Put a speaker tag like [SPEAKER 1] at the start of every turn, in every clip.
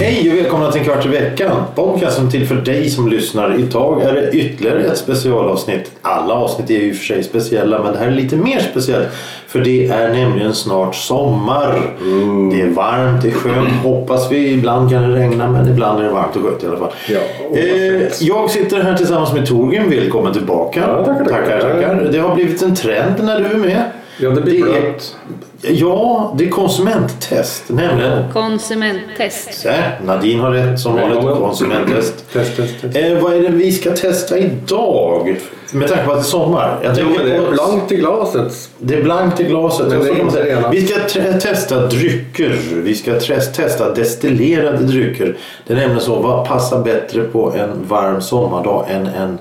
[SPEAKER 1] Hej och välkomna till en kvart i veckan. Podcasten till för dig som lyssnar. Idag är det ytterligare ett specialavsnitt. Alla avsnitt är ju i och för sig speciella men det här är lite mer speciellt. För det är nämligen snart sommar.
[SPEAKER 2] Mm.
[SPEAKER 1] Det är varmt, det är skönt hoppas vi. Ibland kan det regna men ibland är det varmt och skönt i alla fall.
[SPEAKER 2] Ja, och vad
[SPEAKER 1] eh,
[SPEAKER 2] fint.
[SPEAKER 1] jag sitter här tillsammans med Torgrim. Välkommen tillbaka.
[SPEAKER 2] Ja, tackar, tackar.
[SPEAKER 1] tackar, tackar. Det har blivit en trend när du är med.
[SPEAKER 2] Ja, det
[SPEAKER 1] Det
[SPEAKER 2] blir
[SPEAKER 1] är-
[SPEAKER 2] blött.
[SPEAKER 1] Ja, det är konsumenttest nämligen.
[SPEAKER 3] Konsumenttest.
[SPEAKER 1] Där, Nadine har rätt som vanligt.
[SPEAKER 2] Ja, ja.
[SPEAKER 1] Konsumenttest.
[SPEAKER 2] Test, test, test.
[SPEAKER 1] Eh, vad är det vi ska testa idag? Med tanke på att det är sommar. Jag
[SPEAKER 2] Jo,
[SPEAKER 1] tänker
[SPEAKER 2] men det är
[SPEAKER 1] på-
[SPEAKER 2] blankt i glaset.
[SPEAKER 1] Det är blankt i glaset.
[SPEAKER 2] Men
[SPEAKER 1] Jag
[SPEAKER 2] det är
[SPEAKER 1] får
[SPEAKER 2] inte
[SPEAKER 1] säga.
[SPEAKER 2] rena.
[SPEAKER 1] vi ska tre- testa drycker. Vi ska tres- testa destillerade drycker. Det är nämligen så. Vad passar bättre på en varm sommardag än en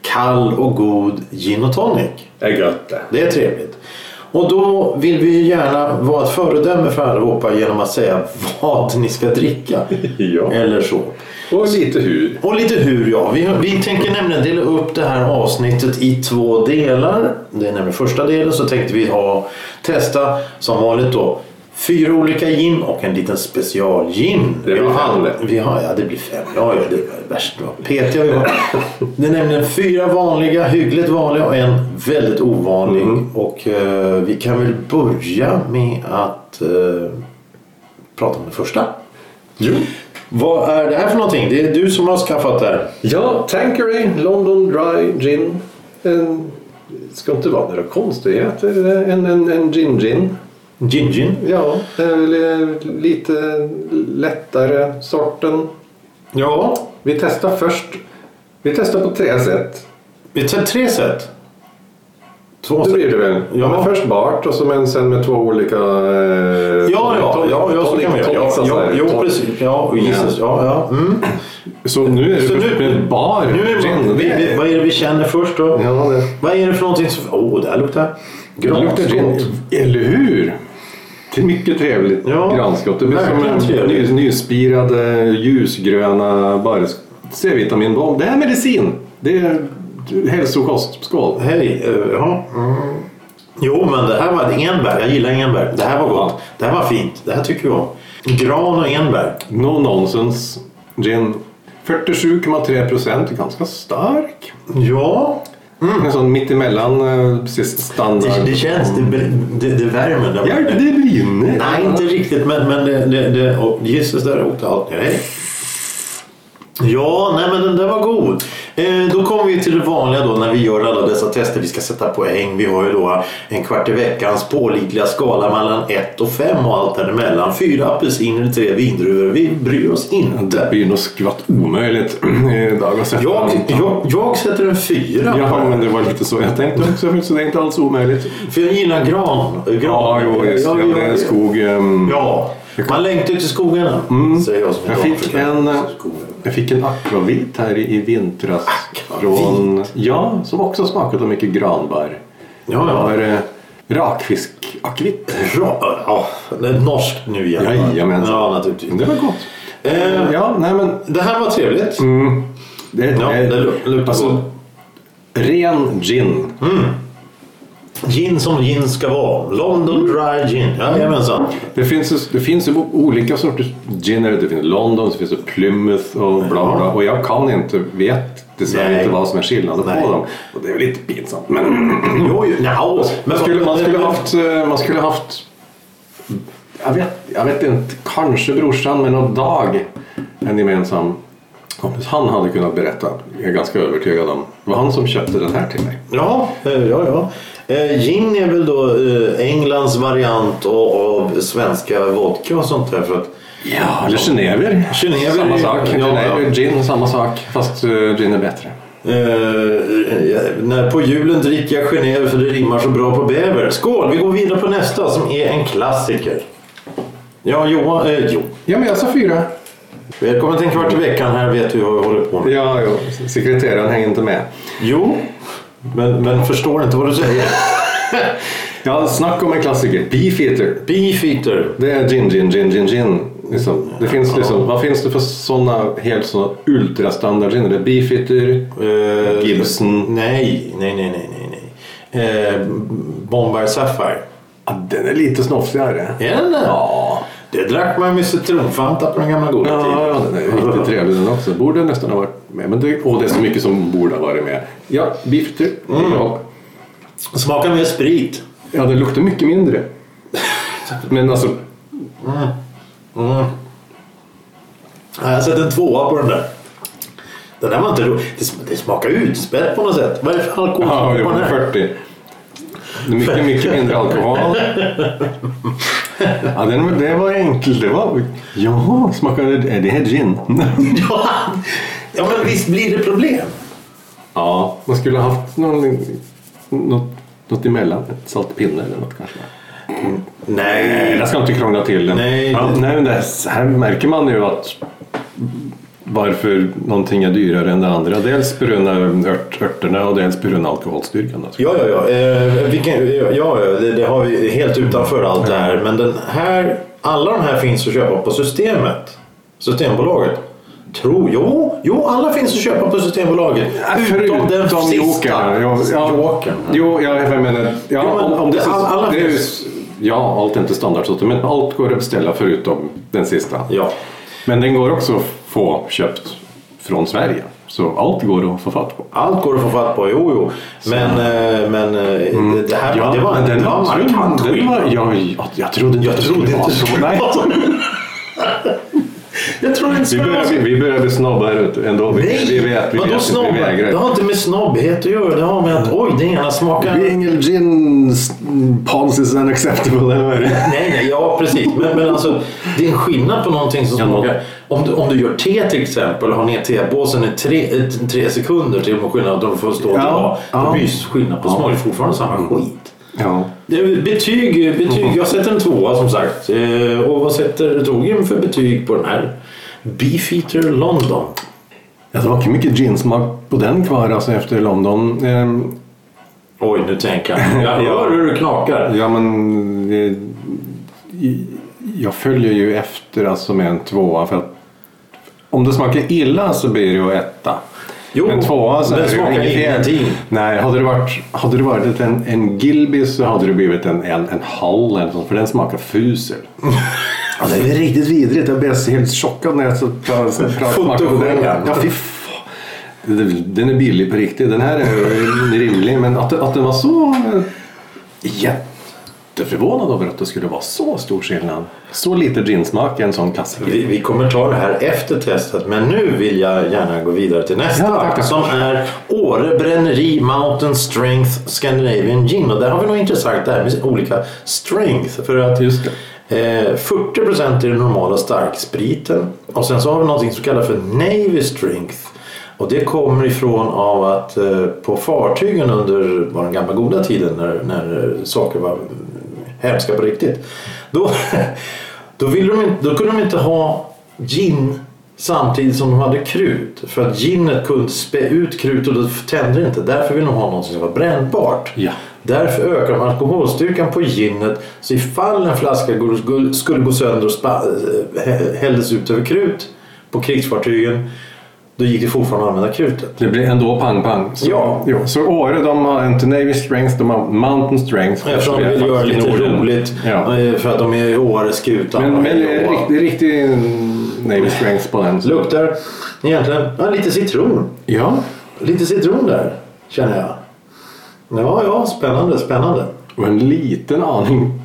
[SPEAKER 1] kall och god gin och tonic?
[SPEAKER 2] Det är gött det.
[SPEAKER 1] Det är trevligt. Och då vill vi ju gärna vara ett föredöme för allihopa genom att säga vad ni ska dricka.
[SPEAKER 2] Ja.
[SPEAKER 1] Eller så.
[SPEAKER 2] Och lite hur.
[SPEAKER 1] Och lite hur ja. Vi, vi tänker nämligen dela upp det här avsnittet i två delar. Det är nämligen första delen så tänkte vi ha testa som vanligt då fyra olika gin och en liten specialgin.
[SPEAKER 2] Det blir
[SPEAKER 1] Vi har-
[SPEAKER 2] fem det.
[SPEAKER 1] Vi har, ja det blir fem. Ja, ja det är värst vad petiga vi var. Det är nämligen fyra vanliga, hyggligt vanliga och en väldigt ovanlig. Och eh, vi kan väl börja med att eh, prata om den första.
[SPEAKER 2] Jo.
[SPEAKER 1] Vad är det här för någonting? Det är du som har skaffat det här.
[SPEAKER 2] Ja, Tanqueray London Dry Gin. En, det ska inte vara några konstigheter. En, en, en gin gin.
[SPEAKER 1] Gin gin.
[SPEAKER 2] Ja, det är väl, eh, lite lättare sorten.
[SPEAKER 1] Ja,
[SPEAKER 2] Vi testar först. Vi testar på tre sätt.
[SPEAKER 1] vi tar tre set. Två
[SPEAKER 2] Det
[SPEAKER 1] set.
[SPEAKER 2] blir det väl?
[SPEAKER 1] Ja.
[SPEAKER 2] Ja. Men först bart och så men sen med två olika... Eh,
[SPEAKER 1] Ja, ja, ja, ja, så kan vi göra. Ja,
[SPEAKER 2] alltså,
[SPEAKER 1] ja, jo, precis. Ja, och Jesus. Ja, ja. Mm.
[SPEAKER 2] Så nu är det
[SPEAKER 1] Så nu-
[SPEAKER 2] först med bar.
[SPEAKER 1] Nu är det, vi, vi, vad är det vi känner först då?
[SPEAKER 2] Ja, det.
[SPEAKER 1] Vad är det för någonting som... Åh, oh, det här luktar...
[SPEAKER 2] Det luktar
[SPEAKER 1] granskott.
[SPEAKER 2] gin. Eller hur? Det är mycket trevligt
[SPEAKER 1] Ja,
[SPEAKER 2] granskott. Det blir som
[SPEAKER 1] verkligen
[SPEAKER 2] en
[SPEAKER 1] trevligt.
[SPEAKER 2] ny, nyspirade ljusgröna bar... C-vitaminbomb. Det här är medicin. Det är hälsokost. Skål.
[SPEAKER 1] Hej, eh, ja. Jo, men det här var enbär. Jag gillar enbär. Det här var gott.
[SPEAKER 2] Ja.
[SPEAKER 1] Det här var fint. Det här tycker jag om. Gran och enbär.
[SPEAKER 2] No nonsense gin. 47,3 procent. Ganska stark.
[SPEAKER 1] Ja, Mm.
[SPEAKER 2] En sån mittemellan eh, precis standard.
[SPEAKER 1] det, det känns. Det, det, det värmer. där
[SPEAKER 2] Ja,
[SPEAKER 1] borta.
[SPEAKER 2] det brinner.
[SPEAKER 1] Nej, inte riktigt. Men, men det, det, det, och Jesus, där åkte allt ner. Hej. Ja, nej men den där var god. Eh, då kommer vi till det vanliga då när vi gör alla dessa tester. Vi ska sätta poäng. Vi har ju då en kvart i veckans pålitliga skala mellan 1 och 5 och allt däremellan. Fyra apelsiner, tre vindruvor. Vi bryr oss
[SPEAKER 2] Det
[SPEAKER 1] inte.
[SPEAKER 2] blir nog skvatt omöjligt Eh, idag att sätta
[SPEAKER 1] Jag,
[SPEAKER 2] en-
[SPEAKER 1] jag, jag sätter en fyra.
[SPEAKER 2] Jaha, men det var lite så jag tänkte också. Så det är inte alls omöjligt.
[SPEAKER 1] För jag gillar gran. gran.
[SPEAKER 2] Ja, jo, just
[SPEAKER 1] Ja,
[SPEAKER 2] det.
[SPEAKER 1] ja,
[SPEAKER 2] Det är skog. ehm,
[SPEAKER 1] Ja, man längtar ju till skogarna. Säger jag som är
[SPEAKER 2] Jag fick
[SPEAKER 1] damförklarad.
[SPEAKER 2] en, eh, jag fick en akvavit här i i vintras.
[SPEAKER 1] Akvavit?
[SPEAKER 2] Från, ja, som också smakade mycket granbar.
[SPEAKER 1] Ja,
[SPEAKER 2] Det
[SPEAKER 1] ja.
[SPEAKER 2] var eh, rakfiskakvitt.
[SPEAKER 1] Bra. Ja, det är norskt nu igen. va?
[SPEAKER 2] Jajamensan.
[SPEAKER 1] Ja, naturligtvis.
[SPEAKER 2] Det var gott.
[SPEAKER 1] Eh,
[SPEAKER 2] Ja, nej men.
[SPEAKER 1] det här var trevligt.
[SPEAKER 2] Det,
[SPEAKER 1] Ja,
[SPEAKER 2] eh,
[SPEAKER 1] det luk- luktar gott.
[SPEAKER 2] alltså, ren gin.
[SPEAKER 1] Gin som gin ska vara. London Dry Gin. Mm. Jajamensan.
[SPEAKER 2] Det finns, ju- det finns ju olika sorters ginner. Det finns London, det finns ju Plymouth och bla bla. Och jag kan inte, vet dessvärre
[SPEAKER 1] Nej.
[SPEAKER 2] inte vad som är skillnaden
[SPEAKER 1] Nej.
[SPEAKER 2] på dem. Och det är väl lite pinsamt. Men
[SPEAKER 1] Jo, jo. No.
[SPEAKER 2] man, skulle, man, skulle haft, eh, man skulle haft, jag vet, jag vet inte, kanske brorsan men någon dag en gemensam kompis. Han hade kunnat berätta, jag är ganska övertygad om. Det var han som köpte den här till mig.
[SPEAKER 1] Ja, eh, ja, ja. Eh, Gin är väl då eh, Englands variant av, av svenska vodka och sånt där. För att,
[SPEAKER 2] Ja, eller genever.
[SPEAKER 1] Genever är
[SPEAKER 2] samma
[SPEAKER 1] ju-
[SPEAKER 2] sak.
[SPEAKER 1] ja, ja.
[SPEAKER 2] Genever, gin, samma sak. Fast eh, gin är bättre.
[SPEAKER 1] eh, när på julen dricker jag Genève för det rimmar så bra på bäver. Skål! Vi går vidare på nästa som är en klassiker. Ja, Johan. Eh, jo.
[SPEAKER 2] Ja, men jag sa fyra.
[SPEAKER 1] Välkommen till en kvart i veckan. Här vet vi vad vi håller på med.
[SPEAKER 2] Ja, jo. sekreteraren hänger inte med.
[SPEAKER 1] Jo, men, men förstår inte vad du säger.
[SPEAKER 2] Ja, snack om en klassiker. Beefeater.
[SPEAKER 1] Beefeater.
[SPEAKER 2] Det är gin, gin, gin, gin, gin. Liksom. Det finns liksom, vad finns det för sådana helt såna ultrastandard gin? Det är Beefeater,
[SPEAKER 1] Eh,
[SPEAKER 2] Gibson.
[SPEAKER 1] Nej, nej, nej, nej, nej. nej. Eh, Bombay Sapphire.
[SPEAKER 2] Ja, den är lite snofsigare.
[SPEAKER 1] Är den det?
[SPEAKER 2] Ja.
[SPEAKER 1] Det drack man med citronfanta på den gamla goda
[SPEAKER 2] Ja,
[SPEAKER 1] tiden.
[SPEAKER 2] ja, den är riktigt trevlig den också. Borde nästan ha varit med. Men det, och det är så mycket som borde ha varit med. Ja, Beefeater. Ja.
[SPEAKER 1] Smakar mer sprit.
[SPEAKER 2] ja, den luktar mycket mindre. Men alltså,
[SPEAKER 1] Ja, Jag har sett en tvåa på den där. Den där var inte rolig. Det, sm- det smakar utspätt på något sätt. Vad är det för alkohol
[SPEAKER 2] ja,
[SPEAKER 1] på
[SPEAKER 2] det
[SPEAKER 1] den
[SPEAKER 2] var
[SPEAKER 1] här?
[SPEAKER 2] 40. Det är mycket, mycket mindre alkohol. Ja, den, det var enkelt. Det var, ja, smakar det, är det här gin?
[SPEAKER 1] Ja. ja, men visst blir det problem.
[SPEAKER 2] Ja, man skulle ha haft någon, något, något emellan. Ett saltpinne eller något kanske. Nej,
[SPEAKER 1] Nej.
[SPEAKER 2] jag ska inte krångla till den.
[SPEAKER 1] Nej.
[SPEAKER 2] ja, nej men det här, här märker man ju att varför någonting är dyrare än det andra. Dels på grund av ört, örterna och dels på grund av alkoholstyrkan. Alltså.
[SPEAKER 1] Ja, ja, ja. Eh, vilken, ja, ja det, det har vi helt utanför allt det här. Men den här, alla de här finns att köpa på Systemet. Systembolaget. Tror Jo, jo, alla finns att köpa på Systembolaget. Utom den
[SPEAKER 2] Förutom
[SPEAKER 1] sista.
[SPEAKER 2] jokern. Ja, ja.
[SPEAKER 1] Jokern.
[SPEAKER 2] Jo, ja, jag menar... Ja,
[SPEAKER 1] Jo, men
[SPEAKER 2] om, om det,
[SPEAKER 1] all- alla
[SPEAKER 2] det är ju,
[SPEAKER 1] finns.
[SPEAKER 2] ja, allt är inte standardsorter, men allt går att beställa förutom den sista.
[SPEAKER 1] Ja.
[SPEAKER 2] Men den går också att få köpt från Sverige. Så allt går att få fatt på.
[SPEAKER 1] Allt går att få fatt på, jo, jo. Men, eh, men eh, det- det här det var,
[SPEAKER 2] Mm. men
[SPEAKER 1] det var
[SPEAKER 2] jag tror-
[SPEAKER 1] markant
[SPEAKER 2] den
[SPEAKER 1] skillnad.
[SPEAKER 2] var, jag, jag, jag trodde inte
[SPEAKER 1] Jag
[SPEAKER 2] det
[SPEAKER 1] trodde
[SPEAKER 2] skulle
[SPEAKER 1] inte
[SPEAKER 2] vara
[SPEAKER 1] det skulle
[SPEAKER 2] Nej.
[SPEAKER 1] vara så. Jag tror inte det
[SPEAKER 2] Vi
[SPEAKER 1] skulle vara
[SPEAKER 2] börjar,
[SPEAKER 1] så.
[SPEAKER 2] vi, vi börjar bli snobba här ute ändå. Vi, vi vet, vi
[SPEAKER 1] vadå
[SPEAKER 2] vet
[SPEAKER 1] snobb?
[SPEAKER 2] att vi vägrar.
[SPEAKER 1] Det har inte med snobbhet att göra. Det har med att oj, den ena smakar... Nej,
[SPEAKER 2] Being a gin s- policies unacceptable. eller vad är det?
[SPEAKER 1] nej, ja precis. Men, men alltså, det är en skillnad på någonting som
[SPEAKER 2] Ja, men-
[SPEAKER 1] smakar... Om du, om du gör te till exempel och har ner tepåsen i tre, i tre sekunder till och med skillnad att de får stå och
[SPEAKER 2] Ja,
[SPEAKER 1] dra. Då
[SPEAKER 2] ja. Mm.
[SPEAKER 1] blir det skillnad på smak. Det är fortfarande samma skit.
[SPEAKER 2] Ja.
[SPEAKER 1] Det är betyg, betyg. Jag sätter en tvåa som sagt. Eh, Och vad sätter Torgrim för betyg på den här? Beefeater London.
[SPEAKER 2] Ja, Alltså, det var inte mycket ginsmak på den kvar alltså, efter London. Ehm,
[SPEAKER 1] Oj, nu tänker jag. Jag
[SPEAKER 2] Ja.
[SPEAKER 1] hör hur du knakar.
[SPEAKER 2] Ja, men det, i- jag följer ju efter alltså, med en tvåa. För att, om det smakar illa så blir det ju etta.
[SPEAKER 1] Jo,
[SPEAKER 2] en tvåa så
[SPEAKER 1] men
[SPEAKER 2] är det ju
[SPEAKER 1] smakar
[SPEAKER 2] inget fel.
[SPEAKER 1] ingenting.
[SPEAKER 2] Nej, hade det varit, hade det varit en, en Gilby så hade det blivit en, en, en Hall eller sånt, för den smakar fusel. ja, det är riktigt vidrigt. Jag blev helt chockad när jag så pra- så pra- smakade den.
[SPEAKER 1] Fotogen.
[SPEAKER 2] Ja, fy fan. Den är billig på riktigt. Den här är rimlig, men att, att den var så... eh, Jätteförvånad över att det skulle vara så stor skillnad. Så lite ginsmak i en sån klassiker.
[SPEAKER 1] Vi, vi kommer ta det här efter testet men nu vill jag gärna gå vidare till nästa
[SPEAKER 2] Ja, tack, tack.
[SPEAKER 1] som är Åre Bränneri Mountain Strength Scandinavian Gin och där har vi något intressant det här med olika strength för att
[SPEAKER 2] Just det.
[SPEAKER 1] Eh, 40 är den normala starkspriten. Och sen så har vi någonting som kallas för Navy Strength. Och det kommer ifrån av att eh, på fartygen under var den gamla goda tiden när, när eh, saker var mm, hemska på riktigt. Då, då, ville de, inte- då kunde de inte ha gin samtidigt som de hade krut. För att ginet kunde spä ut krut och då tände det inte. Därför ville de ha något som var brännbart.
[SPEAKER 2] Ja.
[SPEAKER 1] Därför ökar de alkoholstyrkan på ginet så ifall en flaska går- skulle gå sönder och spa, hä- hälldes ut över krut på krigsfartygen då gick det fortfarande att använda krutet.
[SPEAKER 2] Det blir ändå pang-pang. Så,
[SPEAKER 1] Ja.
[SPEAKER 2] Jo, så Åre de har inte Navy Strength, de har Mountain Strength.
[SPEAKER 1] Eftersom de
[SPEAKER 2] Det är
[SPEAKER 1] vill göra
[SPEAKER 2] faktiskt
[SPEAKER 1] lite
[SPEAKER 2] i Norden.
[SPEAKER 1] roligt
[SPEAKER 2] Ja.
[SPEAKER 1] eh, för att de är i Åreskutan.
[SPEAKER 2] Men,
[SPEAKER 1] och
[SPEAKER 2] men det
[SPEAKER 1] hej
[SPEAKER 2] är
[SPEAKER 1] och hå.
[SPEAKER 2] riktig, riktig Navy Strength på den.
[SPEAKER 1] Luktar egentligen ja, lite citron.
[SPEAKER 2] Ja.
[SPEAKER 1] Lite citron där känner jag. Ja, ja, spännande, spännande.
[SPEAKER 2] Och en liten aning.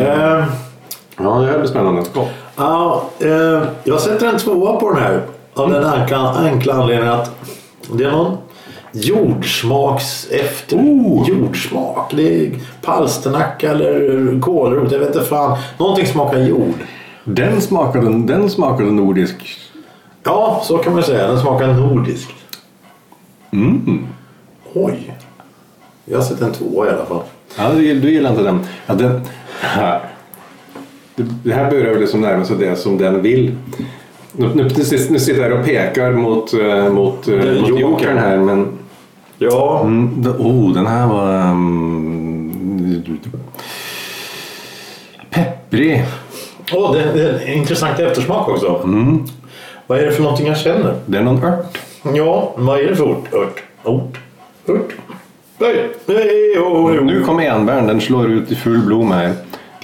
[SPEAKER 1] Eh,
[SPEAKER 2] Ja, det här blir spännande. Kom.
[SPEAKER 1] Ja, eh, jag sätter en tvåa på den här. Av den enkla, enkla anledningen att det är någon jordsmaks efter.
[SPEAKER 2] Oh!
[SPEAKER 1] Jordsmak. Det är palsternacka eller kålrot. Jag vet inte fan. Någonting smakar jord.
[SPEAKER 2] Den smakade, den smakade nordisk.
[SPEAKER 1] Ja, så kan man säga. Den smakar nordisk.
[SPEAKER 2] Mm.
[SPEAKER 1] Oj. Jag sätter en tvåa i alla fall.
[SPEAKER 2] Ja, du, du gillar inte den. Ja, den här. Det, det här börjar väl liksom närma sig det som den vill. Nu, nu, nu sitter- nu sitter jag och pekar mot, eh, mot, eh,
[SPEAKER 1] Den
[SPEAKER 2] mot
[SPEAKER 1] jokern.
[SPEAKER 2] jokern här men
[SPEAKER 1] Ja.
[SPEAKER 2] Mm, d- oh, den här var... Um, Syrlig.
[SPEAKER 1] Åh, det, det är en intressant eftersmak också.
[SPEAKER 2] Mm.
[SPEAKER 1] Vad är det för någonting jag känner?
[SPEAKER 2] Det är någon ört.
[SPEAKER 1] Ja, vad är det för ort? Ört? Ort? Ört? Nej, nej, oh, oh.
[SPEAKER 2] Nu kommer enbären, den slår ut i full blom här.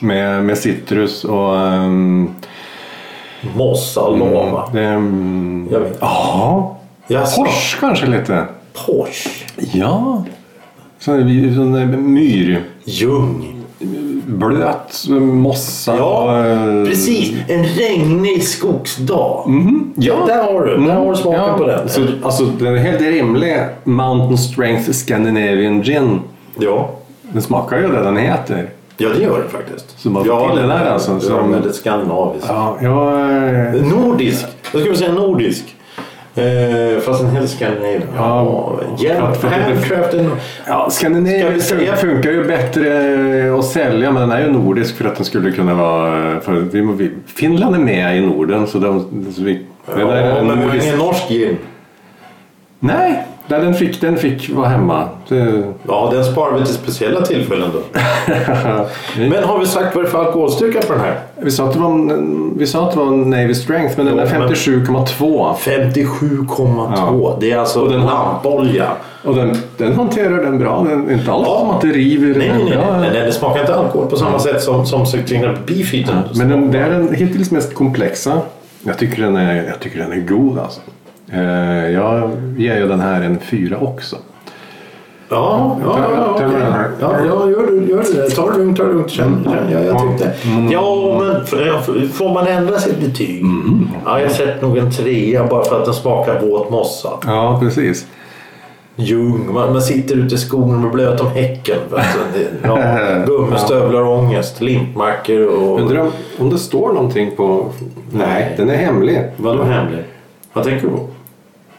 [SPEAKER 2] Med, med citrus och... ehm,
[SPEAKER 1] Mossa, lava.
[SPEAKER 2] det, ehm,
[SPEAKER 1] Jag vet.
[SPEAKER 2] ja,
[SPEAKER 1] Jaså?
[SPEAKER 2] Pors kanske lite.
[SPEAKER 1] Porsche.
[SPEAKER 2] Ja. Sån, sån myr. Mm.
[SPEAKER 1] Ljung.
[SPEAKER 2] Blöt mossa.
[SPEAKER 1] Ja,
[SPEAKER 2] och, eh,
[SPEAKER 1] precis. En regnig skogsdag.
[SPEAKER 2] Mm-hmm. ja.
[SPEAKER 1] Där har du. Där har du smaken
[SPEAKER 2] Mm, Ja,
[SPEAKER 1] på den.
[SPEAKER 2] Så, alltså, den är helt rimlig. Mountain Strength Scandinavian Gin.
[SPEAKER 1] ja.
[SPEAKER 2] Den smakar ju det den heter.
[SPEAKER 1] ja, det gör det faktiskt.
[SPEAKER 2] Så man får
[SPEAKER 1] ja,
[SPEAKER 2] till det där alltså,
[SPEAKER 1] Ja,
[SPEAKER 2] som-
[SPEAKER 1] väldigt skandinavisk.
[SPEAKER 2] Ja, jag... eh,
[SPEAKER 1] Nordisk. Jag skulle säga nordisk. Eh, fast en hel Scandinavian. Ja,
[SPEAKER 2] Ja.
[SPEAKER 1] ja.
[SPEAKER 2] För att det-
[SPEAKER 1] Handcraften. Ska
[SPEAKER 2] Ja, Scandinavian
[SPEAKER 1] vi säga-
[SPEAKER 2] funkar ju bättre att sälja men den är ju nordisk för att den skulle kunna vara... För vi, må- vi, Finland är med i Norden så de... Så vi, det där är
[SPEAKER 1] Ja,
[SPEAKER 2] en
[SPEAKER 1] men vi har
[SPEAKER 2] nordisk...
[SPEAKER 1] ingen norsk gin.
[SPEAKER 2] Nej! Nej, den fick, den fick vara hemma. Det,
[SPEAKER 1] Ja, den sparar vi till speciella tillfällen då. Men har vi sagt vad det är för alkoholstyrka på den här?
[SPEAKER 2] vi, sa att det var, en- vi sa att det var en Navy Strength men den
[SPEAKER 1] Jo,
[SPEAKER 2] är
[SPEAKER 1] men-
[SPEAKER 2] 57,2.
[SPEAKER 1] 57,2.
[SPEAKER 2] Ja.
[SPEAKER 1] Det är alltså
[SPEAKER 2] Och den har-
[SPEAKER 1] lampolja.
[SPEAKER 2] Och den, den hanterar den bra. Den, inte alls
[SPEAKER 1] Ja.
[SPEAKER 2] som att det river.
[SPEAKER 1] Nej, nej, nej,
[SPEAKER 2] Ja,
[SPEAKER 1] nej, nej. Det smakar inte alkohol på samma sätt som, som Cyclina Beefeater.
[SPEAKER 2] Men den, det är den hittills mest komplexa. Jag tycker den är, jag tycker den är god alltså. Eh, jag ger ju den här en fyra också.
[SPEAKER 1] Ja, ja,
[SPEAKER 2] Ta-
[SPEAKER 1] ja,
[SPEAKER 2] Mm. ta
[SPEAKER 1] okej.
[SPEAKER 2] den här.
[SPEAKER 1] ja, ja gör, du, gör du det. Ta det lugnt, ta det lugnt. Känn, känn. Ja, jag tyckte.
[SPEAKER 2] Mm.
[SPEAKER 1] Ja, men f- får man ändra sitt betyg?
[SPEAKER 2] Mm.
[SPEAKER 1] Ja, jag sätter nog en trea bara för att den smakar våt mossa.
[SPEAKER 2] Ja, precis.
[SPEAKER 1] Ljung, man, man sitter ute i skogen och är blöt om häcken. Alltså, det- ja, gummistövlar och ångest, limpmackor och...
[SPEAKER 2] Undrar om, om det står någonting på... Nej, den är hemlig.
[SPEAKER 1] Vadå hemlig? Vad tänker du på?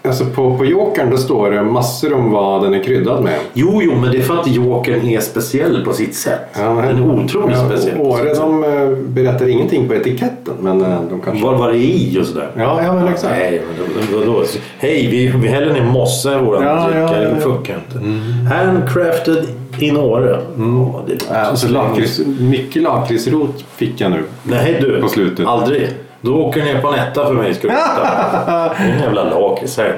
[SPEAKER 2] Alltså på, på jokern då står det massor om vad den är kryddad med.
[SPEAKER 1] Jo, jo, men det är för att jokern är speciell på sitt sätt.
[SPEAKER 2] Ja, men-
[SPEAKER 1] Den är otroligt
[SPEAKER 2] Ja,
[SPEAKER 1] speciell.
[SPEAKER 2] Åre de eh, berättar ingenting på etiketten men eh, de kanske...
[SPEAKER 1] Vad var det i och sådär?
[SPEAKER 2] Ja, ja men exakt.
[SPEAKER 1] Nej, men då- då- då- Hej, vi, vi häller ner mossa i våran
[SPEAKER 2] Ja,
[SPEAKER 1] dricka.
[SPEAKER 2] ja, ja.
[SPEAKER 1] Det funkar inte. Handcrafted in Åre. Ja, det låter
[SPEAKER 2] Äh, Alltså,
[SPEAKER 1] så-
[SPEAKER 2] lakrits, mycket lakritsrot fick jag nu.
[SPEAKER 1] Nej du,
[SPEAKER 2] På slutet.
[SPEAKER 1] aldrig. Då åker ni på en etta för mig. Ska du veta. Det är en jävla lakrits här.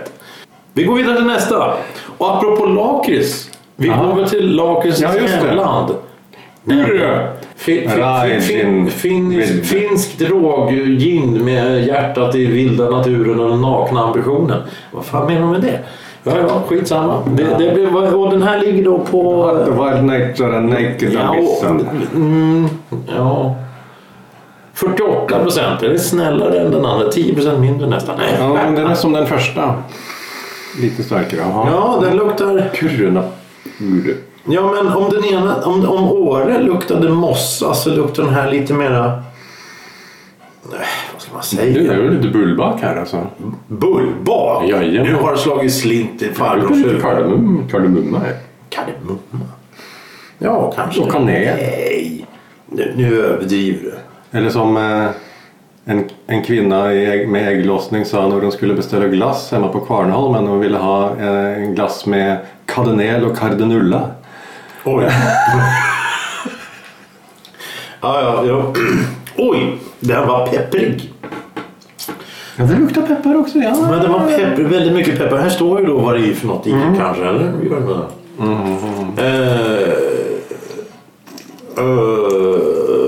[SPEAKER 1] Vi går vidare till nästa. Och apropå lakrits. Vi
[SPEAKER 2] Aha.
[SPEAKER 1] går till lakrits
[SPEAKER 2] Ja, just det.
[SPEAKER 1] hemland. Urö! Fin, fin, fin, fin,
[SPEAKER 2] Rajin.
[SPEAKER 1] finnisk- finsk rågin med hjärtat i vilda naturen och den nakna ambitionen. Vad fan menar de med det? Ja, ja, skitsamma. Det, det blev, och den här ligger då på...
[SPEAKER 2] The Wild Nature and Naked
[SPEAKER 1] Ja, och-
[SPEAKER 2] Ambition.
[SPEAKER 1] mm, ja. 48 procent. Det är snällare än den andra. 10 procent mindre nästan. Nej.
[SPEAKER 2] Ja, men den är som den första. Lite starkare. Jaha.
[SPEAKER 1] Ja, den luktar...
[SPEAKER 2] Kuruna. Ur.
[SPEAKER 1] Ja, men om den ena... Om, om Åre luktade mossa så luktar den här lite mera... Nej, vad ska man
[SPEAKER 2] Du
[SPEAKER 1] säga?
[SPEAKER 2] är ju lite bullbak här alltså.
[SPEAKER 1] Bullbak!
[SPEAKER 2] Jajamän.
[SPEAKER 1] Nu har det slagit slint i farbrors
[SPEAKER 2] Lite
[SPEAKER 1] huvud.
[SPEAKER 2] kardemum- kardemumma här.
[SPEAKER 1] Kardemumma? Ja, kanske.
[SPEAKER 2] Och kanel.
[SPEAKER 1] Nej. Nu, nu överdriver du.
[SPEAKER 2] Eller som eh, en, en kvinna i ägg, med ägglossning sa när hon skulle beställa glass hemma på Kvarnholmen. Hon ville ha eh, en glass med kadenel och kardenulla.
[SPEAKER 1] Oj. ja, ja, ja. Oj, den var pepprig.
[SPEAKER 2] Ja, det luktar peppar också. Ja.
[SPEAKER 1] Men den var pepprig,
[SPEAKER 2] Mm.
[SPEAKER 1] väldigt mycket peppar. Här står ju då vad det är för något i kanske, eller? Vi gör det med den.
[SPEAKER 2] Mm.
[SPEAKER 1] Eh, eh,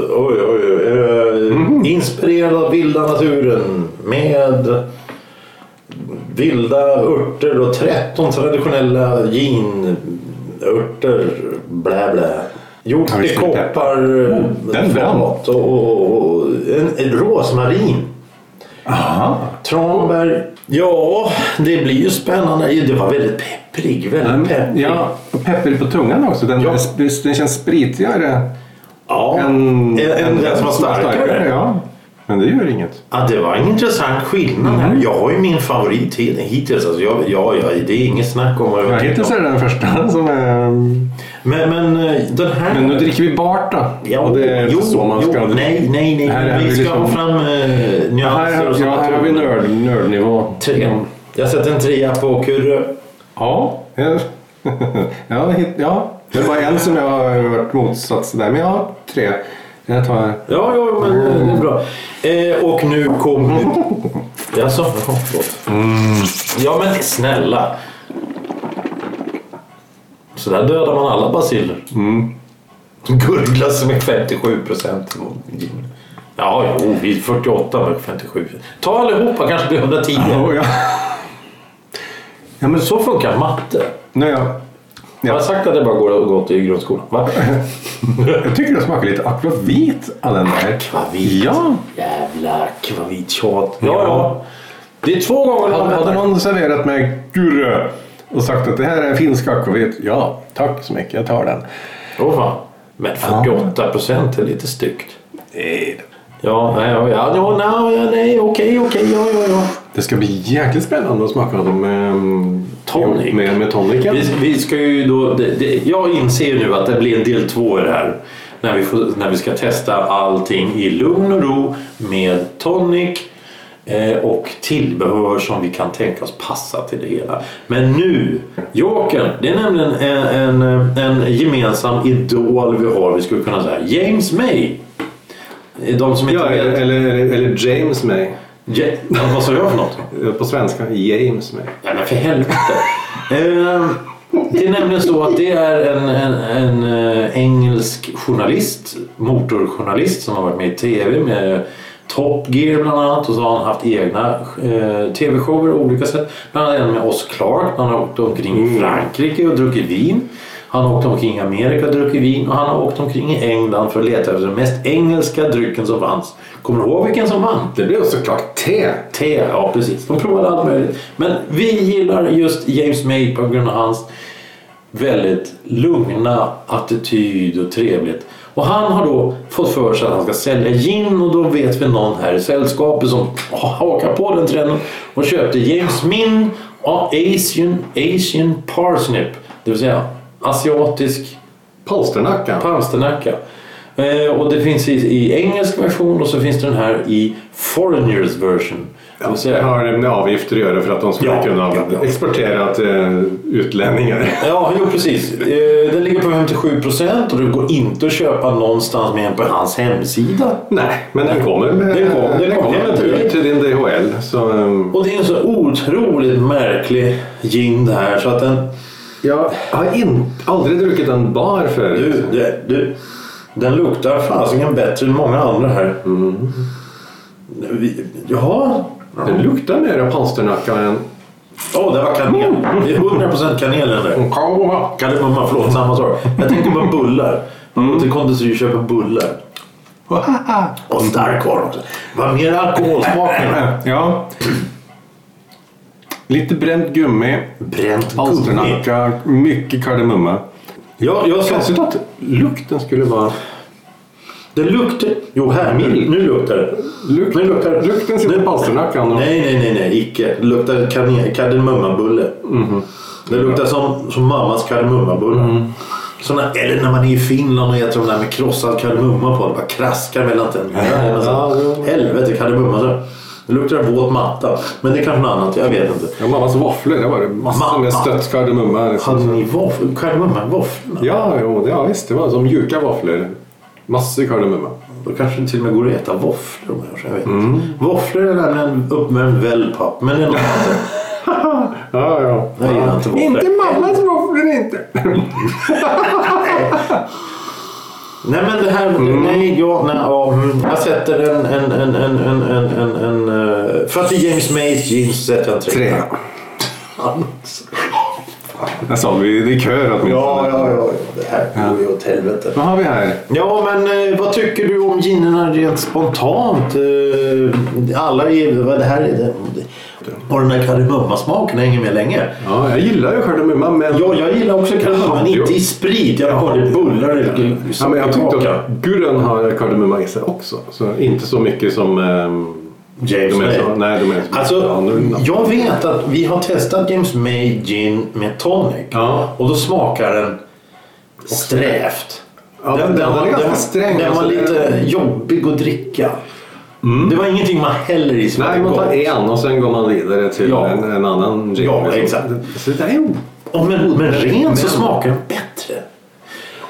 [SPEAKER 1] oj, oj, oj. eh,
[SPEAKER 2] Mm.
[SPEAKER 1] Inspirerad av vilda naturen med vilda örter och 13 traditionella ginörter. Blä, blä. Gjort
[SPEAKER 2] Ja,
[SPEAKER 1] i
[SPEAKER 2] visst är det peppar.
[SPEAKER 1] koppar,
[SPEAKER 2] den brann.
[SPEAKER 1] fat och, och, och en, en rosmarin.
[SPEAKER 2] Aha.
[SPEAKER 1] Tranberg. Ja, det blir ju spännande. Det var väldigt pepprig. Väldigt pepprig.
[SPEAKER 2] Mm, Ja, och pepprig på tungan också. Den,
[SPEAKER 1] Ja.
[SPEAKER 2] är- den känns spritigare.
[SPEAKER 1] ja. En,
[SPEAKER 2] än,
[SPEAKER 1] en,
[SPEAKER 2] än
[SPEAKER 1] den som var starkare.
[SPEAKER 2] Mm. ja. Men det gör inget.
[SPEAKER 1] Ja, det var en intressant skillnad. här.
[SPEAKER 2] Mm.
[SPEAKER 1] Jag har ju min favorit hit- hittills. Alltså jag, ja, ja, det är inget snack om vad
[SPEAKER 2] Ja,
[SPEAKER 1] jag tycker
[SPEAKER 2] hittills
[SPEAKER 1] om.
[SPEAKER 2] är det den första som är...
[SPEAKER 1] Men, men eh, den här...
[SPEAKER 2] Men nu dricker vi Barta.
[SPEAKER 1] Ja,
[SPEAKER 2] och det är inte
[SPEAKER 1] jo,
[SPEAKER 2] så man ska...
[SPEAKER 1] jo, nej, nej, nej.
[SPEAKER 2] Här är
[SPEAKER 1] vi
[SPEAKER 2] vi
[SPEAKER 1] ska
[SPEAKER 2] liksom-
[SPEAKER 1] ha fram eh, nyanser
[SPEAKER 2] Här,
[SPEAKER 1] och
[SPEAKER 2] har-
[SPEAKER 1] sånt.
[SPEAKER 2] ja, här har vi nörd, nördnivå.
[SPEAKER 1] Tre. Jag sätter en trea på Kurre.
[SPEAKER 2] Ja. ja, hit, ja. Det var en som jag har hört motsats där. Men jag har tre. Jag tar...
[SPEAKER 1] Ja, ja, men eh, det är bra. Eh, och nu kom... Jaså? Jaha, förlåt. Ja, men snälla. Så där dödar man alla basiller. Mm. Gurglas med 57 procent. Ja, jo, vi är 48 med 57. Ta allihopa, kanske blir 110.
[SPEAKER 2] Oh, ja. ja, men så...
[SPEAKER 1] Så funkar matte.
[SPEAKER 2] Nu är jag...
[SPEAKER 1] Jag har sagt att det bara går att gå till grundskolan. Va?
[SPEAKER 2] jag tycker det smakar lite akvavit av den där.
[SPEAKER 1] Akvavit.
[SPEAKER 2] Ja.
[SPEAKER 1] Jävla kvavittjat. Ja, ja. Det är två gånger
[SPEAKER 2] Hade, hade
[SPEAKER 1] använder.
[SPEAKER 2] någon serverat mig gurö och sagt att det här är en finsk akvavit. Ja, tack så mycket. Jag tar den.
[SPEAKER 1] Åh fan. Men 48 procent är lite styggt.
[SPEAKER 2] Nej.
[SPEAKER 1] Ja, nej, ja, ja, ja, nej, ja, nej, okej, okej, ja, ja, ja.
[SPEAKER 2] Det ska bli jäkligt spännande att smaka dem med
[SPEAKER 1] Tonic.
[SPEAKER 2] Med, med toniken.
[SPEAKER 1] Vi, vi ska ju då, det, det, jag inser nu att det blir en del två i det här. När vi, får, när vi ska testa allting i lugn och ro med tonic eh, och tillbehör som vi kan tänka oss passa till det hela. Men nu, Jokern, det är nämligen en, en, en gemensam idol vi har. Vi skulle kunna säga James May. De som inte
[SPEAKER 2] Ja,
[SPEAKER 1] vet...
[SPEAKER 2] eller, eller, eller James May.
[SPEAKER 1] Ja, vad sa jag för något?
[SPEAKER 2] Eh, På svenska, James May.
[SPEAKER 1] Nej men för helvete. Ehm, det är nämligen så att det är en, en, en eh, engelsk journalist, motorjournalist som har varit med i tv med Top Gear bland annat och så har han haft egna eh, tv-shower på olika sätt. Bland annat en med Oz Clark. Han har åkt omkring i Frankrike och druckit vin. Han har åkt omkring i Amerika och druckit vin och han har åkt omkring i England för att leta efter den mest engelska drycken som fanns. Kommer du ihåg vilken som vann?
[SPEAKER 2] Det blev såklart te.
[SPEAKER 1] Te, ja precis. De provade allt möjligt. Men vi gillar just James May på grund av hans väldigt lugna attityd och trevligt. Och han har då fått för sig att han ska sälja gin och då vet vi någon här i sällskapet som hakar på den trenden och köpte James Min och Asian, Asian Parsnip. Det vill säga asiatisk
[SPEAKER 2] Polsternacka.
[SPEAKER 1] Palsternacka. Eh, och det finns i, i engelsk version och så finns det den här i foreigners version. Det vill
[SPEAKER 2] Det
[SPEAKER 1] säga,
[SPEAKER 2] har med avgifter att göra för att de skulle
[SPEAKER 1] Ja.
[SPEAKER 2] kunna
[SPEAKER 1] Ja, ja.
[SPEAKER 2] exportera till eh, utlänningar.
[SPEAKER 1] ja, jo precis. Eh, den ligger på 57 procent och det går inte att köpa någonstans mer än på hans hemsida.
[SPEAKER 2] Nej, men den kommer med,
[SPEAKER 1] Den kom- den kom
[SPEAKER 2] med
[SPEAKER 1] hem till dig.
[SPEAKER 2] tur till din DHL. Så, ehm,
[SPEAKER 1] Och det är en så otroligt märklig gin det här så att den...
[SPEAKER 2] jag har in, aldrig druckit en bar förut.
[SPEAKER 1] Du, det, du, den luktar fasiken bättre än många andra här. Mm. Vi, jaha?
[SPEAKER 2] Den luktar mer polsternacka än...
[SPEAKER 1] Åh, oh, det var kanel. Det är 100% kanel i den där. Kardemumma, förlåt, samma sak. Jag tänker på bullar. Man går till konditori och köper bullar. Och starkkorv också. Vad mer alkoholsmak med
[SPEAKER 2] Ja. Lite bränt gummi,
[SPEAKER 1] Bränt gummi.
[SPEAKER 2] polsternacka, mycket kardemumma.
[SPEAKER 1] Ja, jag sa
[SPEAKER 2] Konstigt att lukten skulle vara...
[SPEAKER 1] Det luktar... Jo, här. Nu, nu luktar det.
[SPEAKER 2] Mm. Lukt-
[SPEAKER 1] nu luktar det.
[SPEAKER 2] lukten sitter
[SPEAKER 1] Nu-
[SPEAKER 2] på polsternackan och-
[SPEAKER 1] Nej, nej, nej, nej. Icke. Det luktar kane- kardemummabulle.
[SPEAKER 2] Mhm.
[SPEAKER 1] Det luktar som, som mammas kardemummabulle.
[SPEAKER 2] Mm.
[SPEAKER 1] Såna, eller när man är i Finland och äter de där med krossad kardemumma på. Det bara kraskar mellan tänderna. Men så- Helvete, kardemumma. så. Det luktar våt matta. Men det är kanske något annat. Jag vet inte.
[SPEAKER 2] Ja, mammas våfflor, det var det massor med
[SPEAKER 1] Mamma.
[SPEAKER 2] stött kardemumma. liksom.
[SPEAKER 1] Hade ni våfflor? Kardemumma i våfflorna?
[SPEAKER 2] Ja, jo, det, ja, visst, det var som mjuka våfflor. Massor kardemumma.
[SPEAKER 1] Då kanske det till och med går att äta våfflor om jag gör så, jag vet
[SPEAKER 2] Mm.
[SPEAKER 1] inte. Våfflor är nämligen uppvärmd wellpapp. Men det är något annat.
[SPEAKER 2] Ja, ja.
[SPEAKER 1] Jag gillar inte våfflor.
[SPEAKER 2] mammas våfflor inte.
[SPEAKER 1] Nej men det här,
[SPEAKER 2] Mm.
[SPEAKER 1] nej, ja, nej, ja, mm. jag sätter en, en, en, en, en, en, en, en eh, för att det är James Mays jeans så sätter jag en trea.
[SPEAKER 2] Tre. Jag sa vi det är kör åtminstone.
[SPEAKER 1] Ja, ja, ja, det här går ju åt helvete.
[SPEAKER 2] Vad har vi här?
[SPEAKER 1] Ja, men eh, vad tycker du om ginerna rent spontant? Eh, alla är, vad det här är, det, och den där kardemummasmaken hänger med länge.
[SPEAKER 2] Ja, jag gillar ju kardemumma, men...
[SPEAKER 1] Ja, jag gillar också kardemumma, men inte i sprit. Jag har det i bullar eller
[SPEAKER 2] Ja, men jag tyckte
[SPEAKER 1] sockerkaka.
[SPEAKER 2] att gurren har kardemumma i sig också. Så inte så mycket som... ehm,
[SPEAKER 1] James
[SPEAKER 2] de är
[SPEAKER 1] May.
[SPEAKER 2] så, nej, de är så mycket
[SPEAKER 1] Alltså,
[SPEAKER 2] annorlunda.
[SPEAKER 1] jag vet att vi har testat James May gin med tonic.
[SPEAKER 2] Ja.
[SPEAKER 1] Och då smakar den strävt.
[SPEAKER 2] Ja, den- den är
[SPEAKER 1] var-
[SPEAKER 2] ganska sträng,
[SPEAKER 1] Den var
[SPEAKER 2] alltså. Mm.
[SPEAKER 1] lite jobbig att dricka. Det var ingenting man häller i som
[SPEAKER 2] Nej,
[SPEAKER 1] var
[SPEAKER 2] man tar
[SPEAKER 1] gott.
[SPEAKER 2] en och sen går man vidare till
[SPEAKER 1] Ja.
[SPEAKER 2] en, en annan gin.
[SPEAKER 1] Ja,
[SPEAKER 2] liksom.
[SPEAKER 1] exakt.
[SPEAKER 2] Så det är ju...
[SPEAKER 1] Och men, men rent så
[SPEAKER 2] Men-
[SPEAKER 1] smakar den bättre.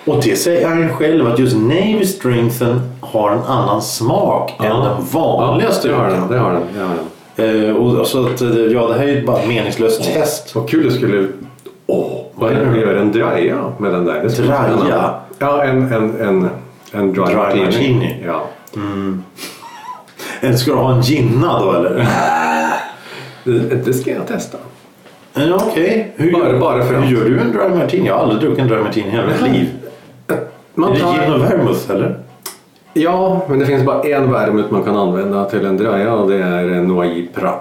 [SPEAKER 1] Och det säger han ju själv att just Navy Strengthen har en annan smak än den vanliga
[SPEAKER 2] det har
[SPEAKER 1] styrkan.
[SPEAKER 2] den. Det har den, det har den.
[SPEAKER 1] Eh, och så att, eh, ja, det här är ju bara ett meningslöst test.
[SPEAKER 2] Vad kul det skulle... Åh, vad är det nu? Gör en draja med den där? Det skulle vara
[SPEAKER 1] Draja?
[SPEAKER 2] spännande. Ja, en, en, en, en dry,
[SPEAKER 1] Dry
[SPEAKER 2] martini.
[SPEAKER 1] martini.
[SPEAKER 2] Ja.
[SPEAKER 1] Eller ska du ha en ginna då eller?
[SPEAKER 2] Det, det ska jag testa.
[SPEAKER 1] Eh, Okej, hur,
[SPEAKER 2] Bara- bara för att-
[SPEAKER 1] hur gör du en dry martini? Jag har aldrig druckit en dry martini i hela mitt liv. Är
[SPEAKER 2] Man
[SPEAKER 1] det gin
[SPEAKER 2] tar,
[SPEAKER 1] och vermouth eller?
[SPEAKER 2] ja, men det finns bara en värmut man kan använda till en draja och det är en Noailly Pra.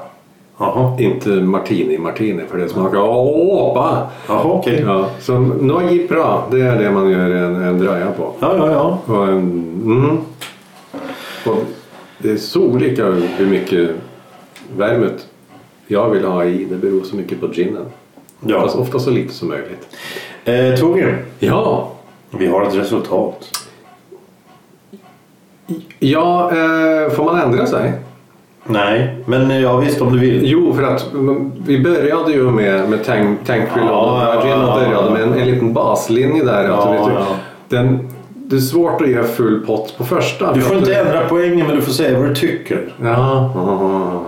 [SPEAKER 1] Jaha,
[SPEAKER 2] Inte Martini Martini för det smakar åpa.
[SPEAKER 1] Jaha okej.
[SPEAKER 2] Ja, så Noailly Pra, det är det man gör en, en draja på.
[SPEAKER 1] Ja, ja, ja.
[SPEAKER 2] Och, en- mm. och det är så olika hur mycket värmet jag vill ha i. Det beror så mycket på ginen.
[SPEAKER 1] Ja.
[SPEAKER 2] Fast ofta så lite som möjligt.
[SPEAKER 1] Eh, Torbjörn,
[SPEAKER 2] Ja,
[SPEAKER 1] vi har ett resultat.
[SPEAKER 2] ja eh, får man ändra sig?
[SPEAKER 1] Nej, men eh, ja visst om du vill.
[SPEAKER 2] Jo, för att mm, vi började ju med, med Tang, Tang
[SPEAKER 1] Ja, ja,
[SPEAKER 2] Prelon.
[SPEAKER 1] ja,
[SPEAKER 2] Ja,
[SPEAKER 1] ja.
[SPEAKER 2] började med en, en liten baslinje där.
[SPEAKER 1] Ja,
[SPEAKER 2] att vet du,
[SPEAKER 1] ja.
[SPEAKER 2] Den, det är svårt att ge full pott på första.
[SPEAKER 1] Du
[SPEAKER 2] för
[SPEAKER 1] får
[SPEAKER 2] att
[SPEAKER 1] inte ändra poängen men du får säga vad du tycker.
[SPEAKER 2] Ja.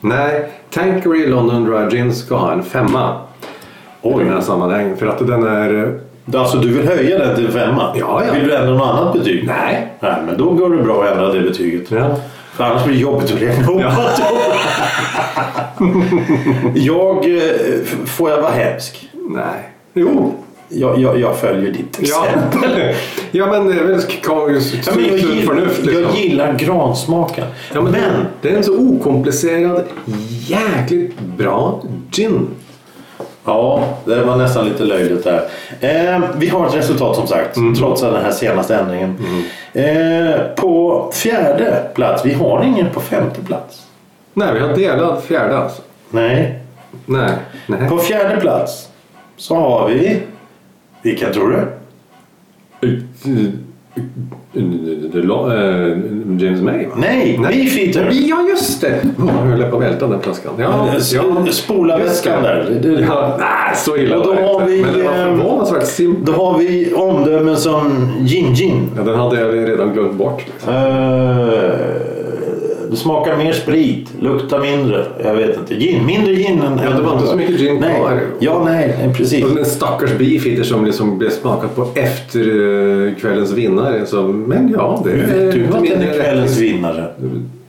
[SPEAKER 2] Nej, Tankery London Dry Gin ska ha en femma.
[SPEAKER 1] Oj.
[SPEAKER 2] I den här sammanhanget. För att den är...
[SPEAKER 1] Alltså du vill höja den till femma?
[SPEAKER 2] Ja, ja.
[SPEAKER 1] Vill du ändra något annat betyg?
[SPEAKER 2] Nej.
[SPEAKER 1] Nej, men då går det bra att ändra det betyget.
[SPEAKER 2] Ja.
[SPEAKER 1] För annars blir det jobbigt att räkna ihop Jag... eh, f- Får jag vara hemsk?
[SPEAKER 2] Nej. Jo.
[SPEAKER 1] Jag, jag, jag följer ditt
[SPEAKER 2] Ja.
[SPEAKER 1] exempel.
[SPEAKER 2] ja, men det är väl konstigt
[SPEAKER 1] Ja, men jag,
[SPEAKER 2] sunt förnuft
[SPEAKER 1] gillar,
[SPEAKER 2] liksom.
[SPEAKER 1] jag gillar gransmaken.
[SPEAKER 2] Ja, men,
[SPEAKER 1] men
[SPEAKER 2] det är en så okomplicerad, jäkligt bra gin.
[SPEAKER 1] Ja, det var nästan lite löjligt där. Eh, vi har ett resultat som sagt, trots den här senaste ändringen. Eh, på fjärde plats, vi har ingen på femte plats.
[SPEAKER 2] Nej, vi har delad fjärde alltså.
[SPEAKER 1] Nej.
[SPEAKER 2] Nej. Nej.
[SPEAKER 1] På fjärde plats så har vi... Vilka tror du?
[SPEAKER 2] James May va?
[SPEAKER 1] Nej, Beefeater!
[SPEAKER 2] Ja, just det! Oh, jag höll på att välta den flaskan. Ja,
[SPEAKER 1] S-
[SPEAKER 2] ja.
[SPEAKER 1] Spola
[SPEAKER 2] Just
[SPEAKER 1] väskan
[SPEAKER 2] det.
[SPEAKER 1] där. Det- det-
[SPEAKER 2] Ja, nej, så illa
[SPEAKER 1] Och då
[SPEAKER 2] var det
[SPEAKER 1] har
[SPEAKER 2] inte.
[SPEAKER 1] vi,
[SPEAKER 2] Men det var
[SPEAKER 1] ehm,
[SPEAKER 2] förvånansvärt simpelt.
[SPEAKER 1] Då har vi omdömen som Gin Gin.
[SPEAKER 2] Ja, den hade jag redan glömt bort. Liksom.
[SPEAKER 1] Eh, det smakar mer sprit, luktar mindre. Jag vet inte. Gin, mindre gin än...
[SPEAKER 2] Ja, det var inte så mycket gin
[SPEAKER 1] nej.
[SPEAKER 2] kvar.
[SPEAKER 1] Ja, nej, nej, precis.
[SPEAKER 2] Och den stackars beefeater som liksom blev smakat på efter eh, kvällens vinnare. Så, men ja, det
[SPEAKER 1] Hur vet du
[SPEAKER 2] inte
[SPEAKER 1] att den
[SPEAKER 2] mindre
[SPEAKER 1] är
[SPEAKER 2] rätt.
[SPEAKER 1] kvällens vinnare?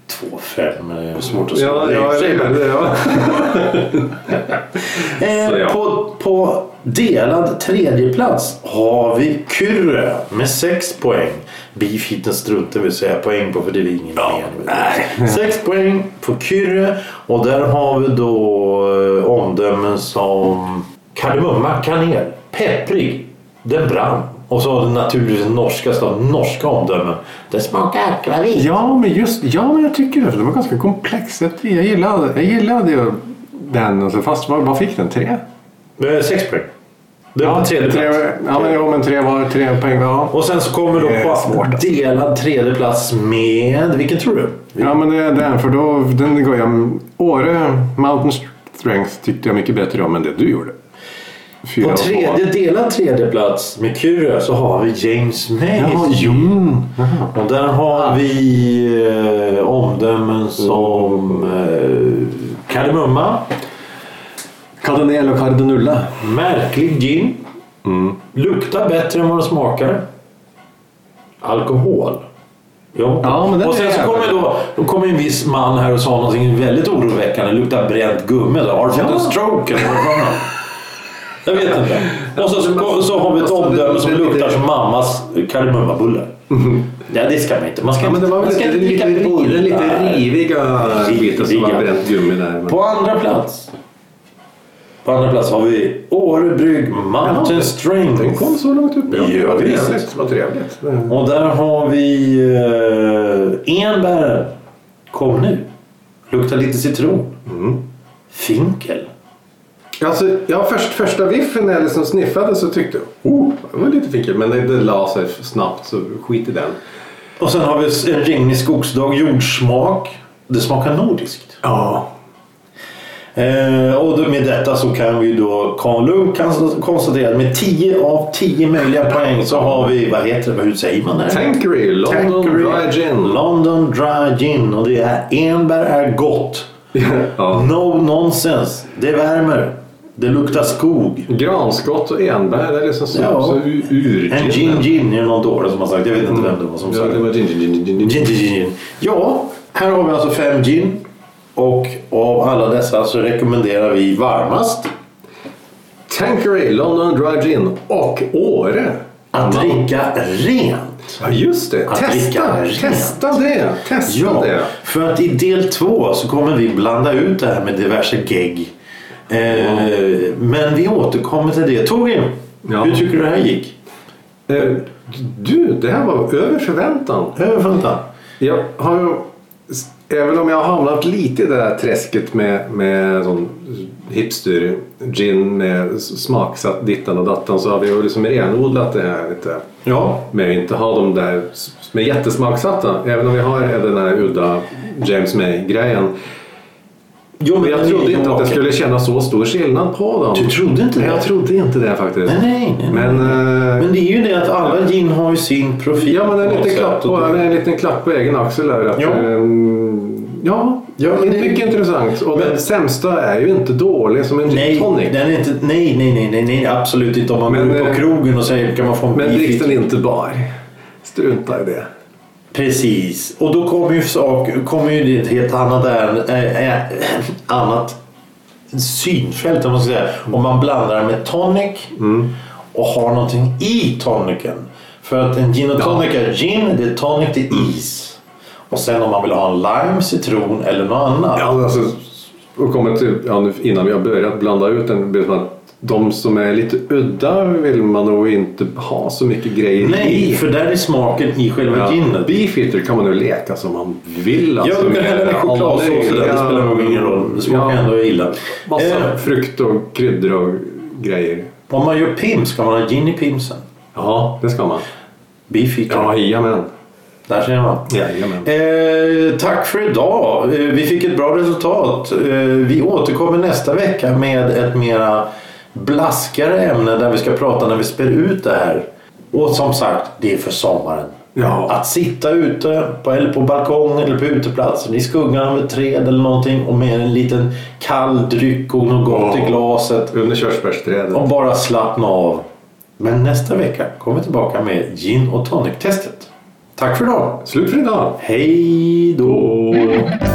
[SPEAKER 1] 2-5 är svårt att
[SPEAKER 2] Ja,
[SPEAKER 1] säga.
[SPEAKER 2] ja,
[SPEAKER 1] Säg
[SPEAKER 2] eller- ja.
[SPEAKER 1] Eh,
[SPEAKER 2] Så ja.
[SPEAKER 1] på, på delad tredje plats har vi Kyrre med 6 poäng. Beefheaten struntar vi säga poäng på för det är ingen mer. 6 poäng på Kyrre och där har vi då eh, omdömen som kardemumma, kanel, pepprig, den brann. Och så har den naturligtvis norskaste av norska omdömen. Den smakar akvavit.
[SPEAKER 2] Ja, men just ja, men jag tycker det. För den var ganska komplex. Jag jag gillade, jag gillade ju den. Alltså, fast vad, vad fick den? Tre?
[SPEAKER 1] Eh, Sex poäng. Det var
[SPEAKER 2] Ja,
[SPEAKER 1] på tredje
[SPEAKER 2] tre,
[SPEAKER 1] plats.
[SPEAKER 2] ja, men, ja, men tre var tre poäng. Ja,
[SPEAKER 1] Och sen så kommer då
[SPEAKER 2] Det är
[SPEAKER 1] på
[SPEAKER 2] svårt.
[SPEAKER 1] delad tredje plats med... Vilken tror du?
[SPEAKER 2] ja men det är den. För då, den går jag... Åre Mountain Strength tyckte jag mycket bättre om än det du gjorde. Fyra
[SPEAKER 1] På
[SPEAKER 2] och två.
[SPEAKER 1] tredje, delad tredje plats med Kyrö så har vi James May.
[SPEAKER 2] Jaha, mm. Jaha.
[SPEAKER 1] Och där har vi eh, omdömen som eh, kardemumma,
[SPEAKER 2] Cardinel och Cardinulla.
[SPEAKER 1] märklig gin, Mm. luktar bättre än vad den smakar, alkohol. Jo.
[SPEAKER 2] Ja, men den
[SPEAKER 1] och sen
[SPEAKER 2] är
[SPEAKER 1] så
[SPEAKER 2] jag.
[SPEAKER 1] kommer då, då kommer en viss man här och sa någonting väldigt oroväckande. Luktar bränt gummi. Då. Har du fått
[SPEAKER 2] Ja.
[SPEAKER 1] en stroke eller vad var det? Jag vet inte. Och så, så, så har vi
[SPEAKER 2] Alltså,
[SPEAKER 1] ett omdöme som luktar som mammas kardemummabullar. Ja, det ska man inte. Man ska
[SPEAKER 2] Mm.
[SPEAKER 1] inte,
[SPEAKER 2] Ja, men det var
[SPEAKER 1] man
[SPEAKER 2] väl
[SPEAKER 1] ska
[SPEAKER 2] lite,
[SPEAKER 1] inte dricka
[SPEAKER 2] lite, lite, lite
[SPEAKER 1] bilar.
[SPEAKER 2] riviga biten som var bränt gummi där. Men.
[SPEAKER 1] På andra plats. På andra plats har vi Åre Brygg Mountain
[SPEAKER 2] Jaha, Den
[SPEAKER 1] Strength.
[SPEAKER 2] kom så långt upp.
[SPEAKER 1] Ja,
[SPEAKER 2] Vad
[SPEAKER 1] visst.
[SPEAKER 2] trevligt. Vad trevligt.
[SPEAKER 1] Och där har vi eh, enbären. Kom nu. Luktar lite citron.
[SPEAKER 2] Mm.
[SPEAKER 1] Finkel.
[SPEAKER 2] Alltså, ja, först, första viffen när jag liksom sniffade så tyckte jag oh, det var lite fickel. Men det, det la sig snabbt så skit i den.
[SPEAKER 1] Och sen har vi en regnig skogsdag, jordsmak. Det smakar nordiskt.
[SPEAKER 2] Ja.
[SPEAKER 1] Eh, och då- med detta så kan vi då kon- lugnt kan- konstatera att med 10 av 10 möjliga poäng så har vi, vad heter det, hur säger man det?
[SPEAKER 2] Tankery, London
[SPEAKER 1] Tanqueray.
[SPEAKER 2] Dry Gin.
[SPEAKER 1] London Dry Gin och det är enbär är gott.
[SPEAKER 2] ja.
[SPEAKER 1] No nonsense. Det värmer. Det luktar skog.
[SPEAKER 2] Granskott och enbär, det är liksom så,
[SPEAKER 1] Ja.
[SPEAKER 2] så ur, ur
[SPEAKER 1] En gin gin är det någon dåre som har sagt. Jag vet inte vem det var som sa
[SPEAKER 2] Ja, det
[SPEAKER 1] det.
[SPEAKER 2] var gin, gin, gin, gin, gin.
[SPEAKER 1] Gin gin gin. Ja, här har vi alltså fem gin. Och av alla dessa så rekommenderar vi varmast
[SPEAKER 2] Tankery, London Dry Gin och Åre.
[SPEAKER 1] att dricka rent.
[SPEAKER 2] Ja, just det.
[SPEAKER 1] Att dricka
[SPEAKER 2] Testa,
[SPEAKER 1] rent.
[SPEAKER 2] testa det. Testa
[SPEAKER 1] Ja,
[SPEAKER 2] det.
[SPEAKER 1] för att i del två så kommer vi blanda ut det här med diverse gegg. Eh, men vi återkommer till det. Torgrim,
[SPEAKER 2] Ja.
[SPEAKER 1] hur tycker du det här gick?
[SPEAKER 2] Eh, Du, det här var över förväntan.
[SPEAKER 1] Över förväntan.
[SPEAKER 2] Jag har ju, även om jag har hamnat lite i det där träsket med, med sån hipster gin med smaksatt dittan och dattan så har vi ju liksom renodlat det här lite.
[SPEAKER 1] Ja.
[SPEAKER 2] Med att inte ha de där som är jättesmaksatta. Även om vi har den här udda James May-grejen.
[SPEAKER 1] Jo,
[SPEAKER 2] Men jag
[SPEAKER 1] den är
[SPEAKER 2] trodde
[SPEAKER 1] ju
[SPEAKER 2] inte att jag
[SPEAKER 1] vaken.
[SPEAKER 2] skulle känna så stor skillnad på dem.
[SPEAKER 1] Du trodde inte
[SPEAKER 2] Nej,
[SPEAKER 1] det?
[SPEAKER 2] jag trodde inte det faktiskt.
[SPEAKER 1] Nej, nej, nej.
[SPEAKER 2] Men, eh,
[SPEAKER 1] Men det är ju det att alla gin har ju sin profil.
[SPEAKER 2] Ja, men en
[SPEAKER 1] på något
[SPEAKER 2] liten,
[SPEAKER 1] sätt.
[SPEAKER 2] klapp på,
[SPEAKER 1] Och det-
[SPEAKER 2] en liten klapp på egen axel där. Att,
[SPEAKER 1] Ja.
[SPEAKER 2] ehm, ja,
[SPEAKER 1] Ja, men
[SPEAKER 2] det är
[SPEAKER 1] det-
[SPEAKER 2] mycket intressant. Och den sämsta är ju inte dålig som en gin
[SPEAKER 1] Nej,
[SPEAKER 2] tonic.
[SPEAKER 1] den är inte, nej, nej, nej, nej, nej, absolut inte. Om man
[SPEAKER 2] Men,
[SPEAKER 1] går ut på
[SPEAKER 2] eh,
[SPEAKER 1] krogen och säger kan man få en
[SPEAKER 2] Men
[SPEAKER 1] bifik?"
[SPEAKER 2] dricks den inte bar. Strunta i det.
[SPEAKER 1] Precis. Och då kommer ju, sak, kommer ju det ett helt annat, ärende, äh, äh, annat synfält om man, ska säga.
[SPEAKER 2] Mm.
[SPEAKER 1] om man blandar med tonic och har någonting i tonicen. För att en gin och tonic är gin, det är tonic, det är is. Och sen om man vill ha en lime, citron eller något annat.
[SPEAKER 2] Ja, men alltså, och kommer till, ja, nu, innan vi har börjat blanda ut den. blir det som att De som är lite udda vill man nog inte ha så mycket grejer
[SPEAKER 1] Nej,
[SPEAKER 2] i.
[SPEAKER 1] för där är smaken i själva ginet.
[SPEAKER 2] Beefeater kan man nu leka som man vill.
[SPEAKER 1] Ja,
[SPEAKER 2] alltså,
[SPEAKER 1] du kan
[SPEAKER 2] med
[SPEAKER 1] hälla i chokladsås i det. Det
[SPEAKER 2] olika-
[SPEAKER 1] spelar nog ingen roll. Det smakar
[SPEAKER 2] Ja.
[SPEAKER 1] ändå illa.
[SPEAKER 2] Massa
[SPEAKER 1] Eh,
[SPEAKER 2] frukt och kryddor och grejer.
[SPEAKER 1] om man gör pims, ska man ha gin i pimsen?
[SPEAKER 2] Ja, det ska man.
[SPEAKER 1] Beefeater.
[SPEAKER 2] Ja, jajamän.
[SPEAKER 1] Där ser man.
[SPEAKER 2] Jajamän.
[SPEAKER 1] Eh, tack för idag. Eh, vi fick ett bra resultat. Eh, vi återkommer nästa vecka med ett mera blaskare ämne där vi ska prata när vi spär ut det här. Och som sagt, det är för sommaren.
[SPEAKER 2] Ja.
[SPEAKER 1] Att sitta ute på, eller på balkongen eller på uteplatsen i skuggan av ett träd eller någonting och med en liten kall dryck och något gott i
[SPEAKER 2] Ja.
[SPEAKER 1] glaset
[SPEAKER 2] Under körsbärsträdet.
[SPEAKER 1] och bara slappna av. Men nästa vecka kommer vi tillbaka med gin och tonic-testet. Tack för idag!
[SPEAKER 2] Slut för idag.
[SPEAKER 1] Hej då!
[SPEAKER 2] Åh.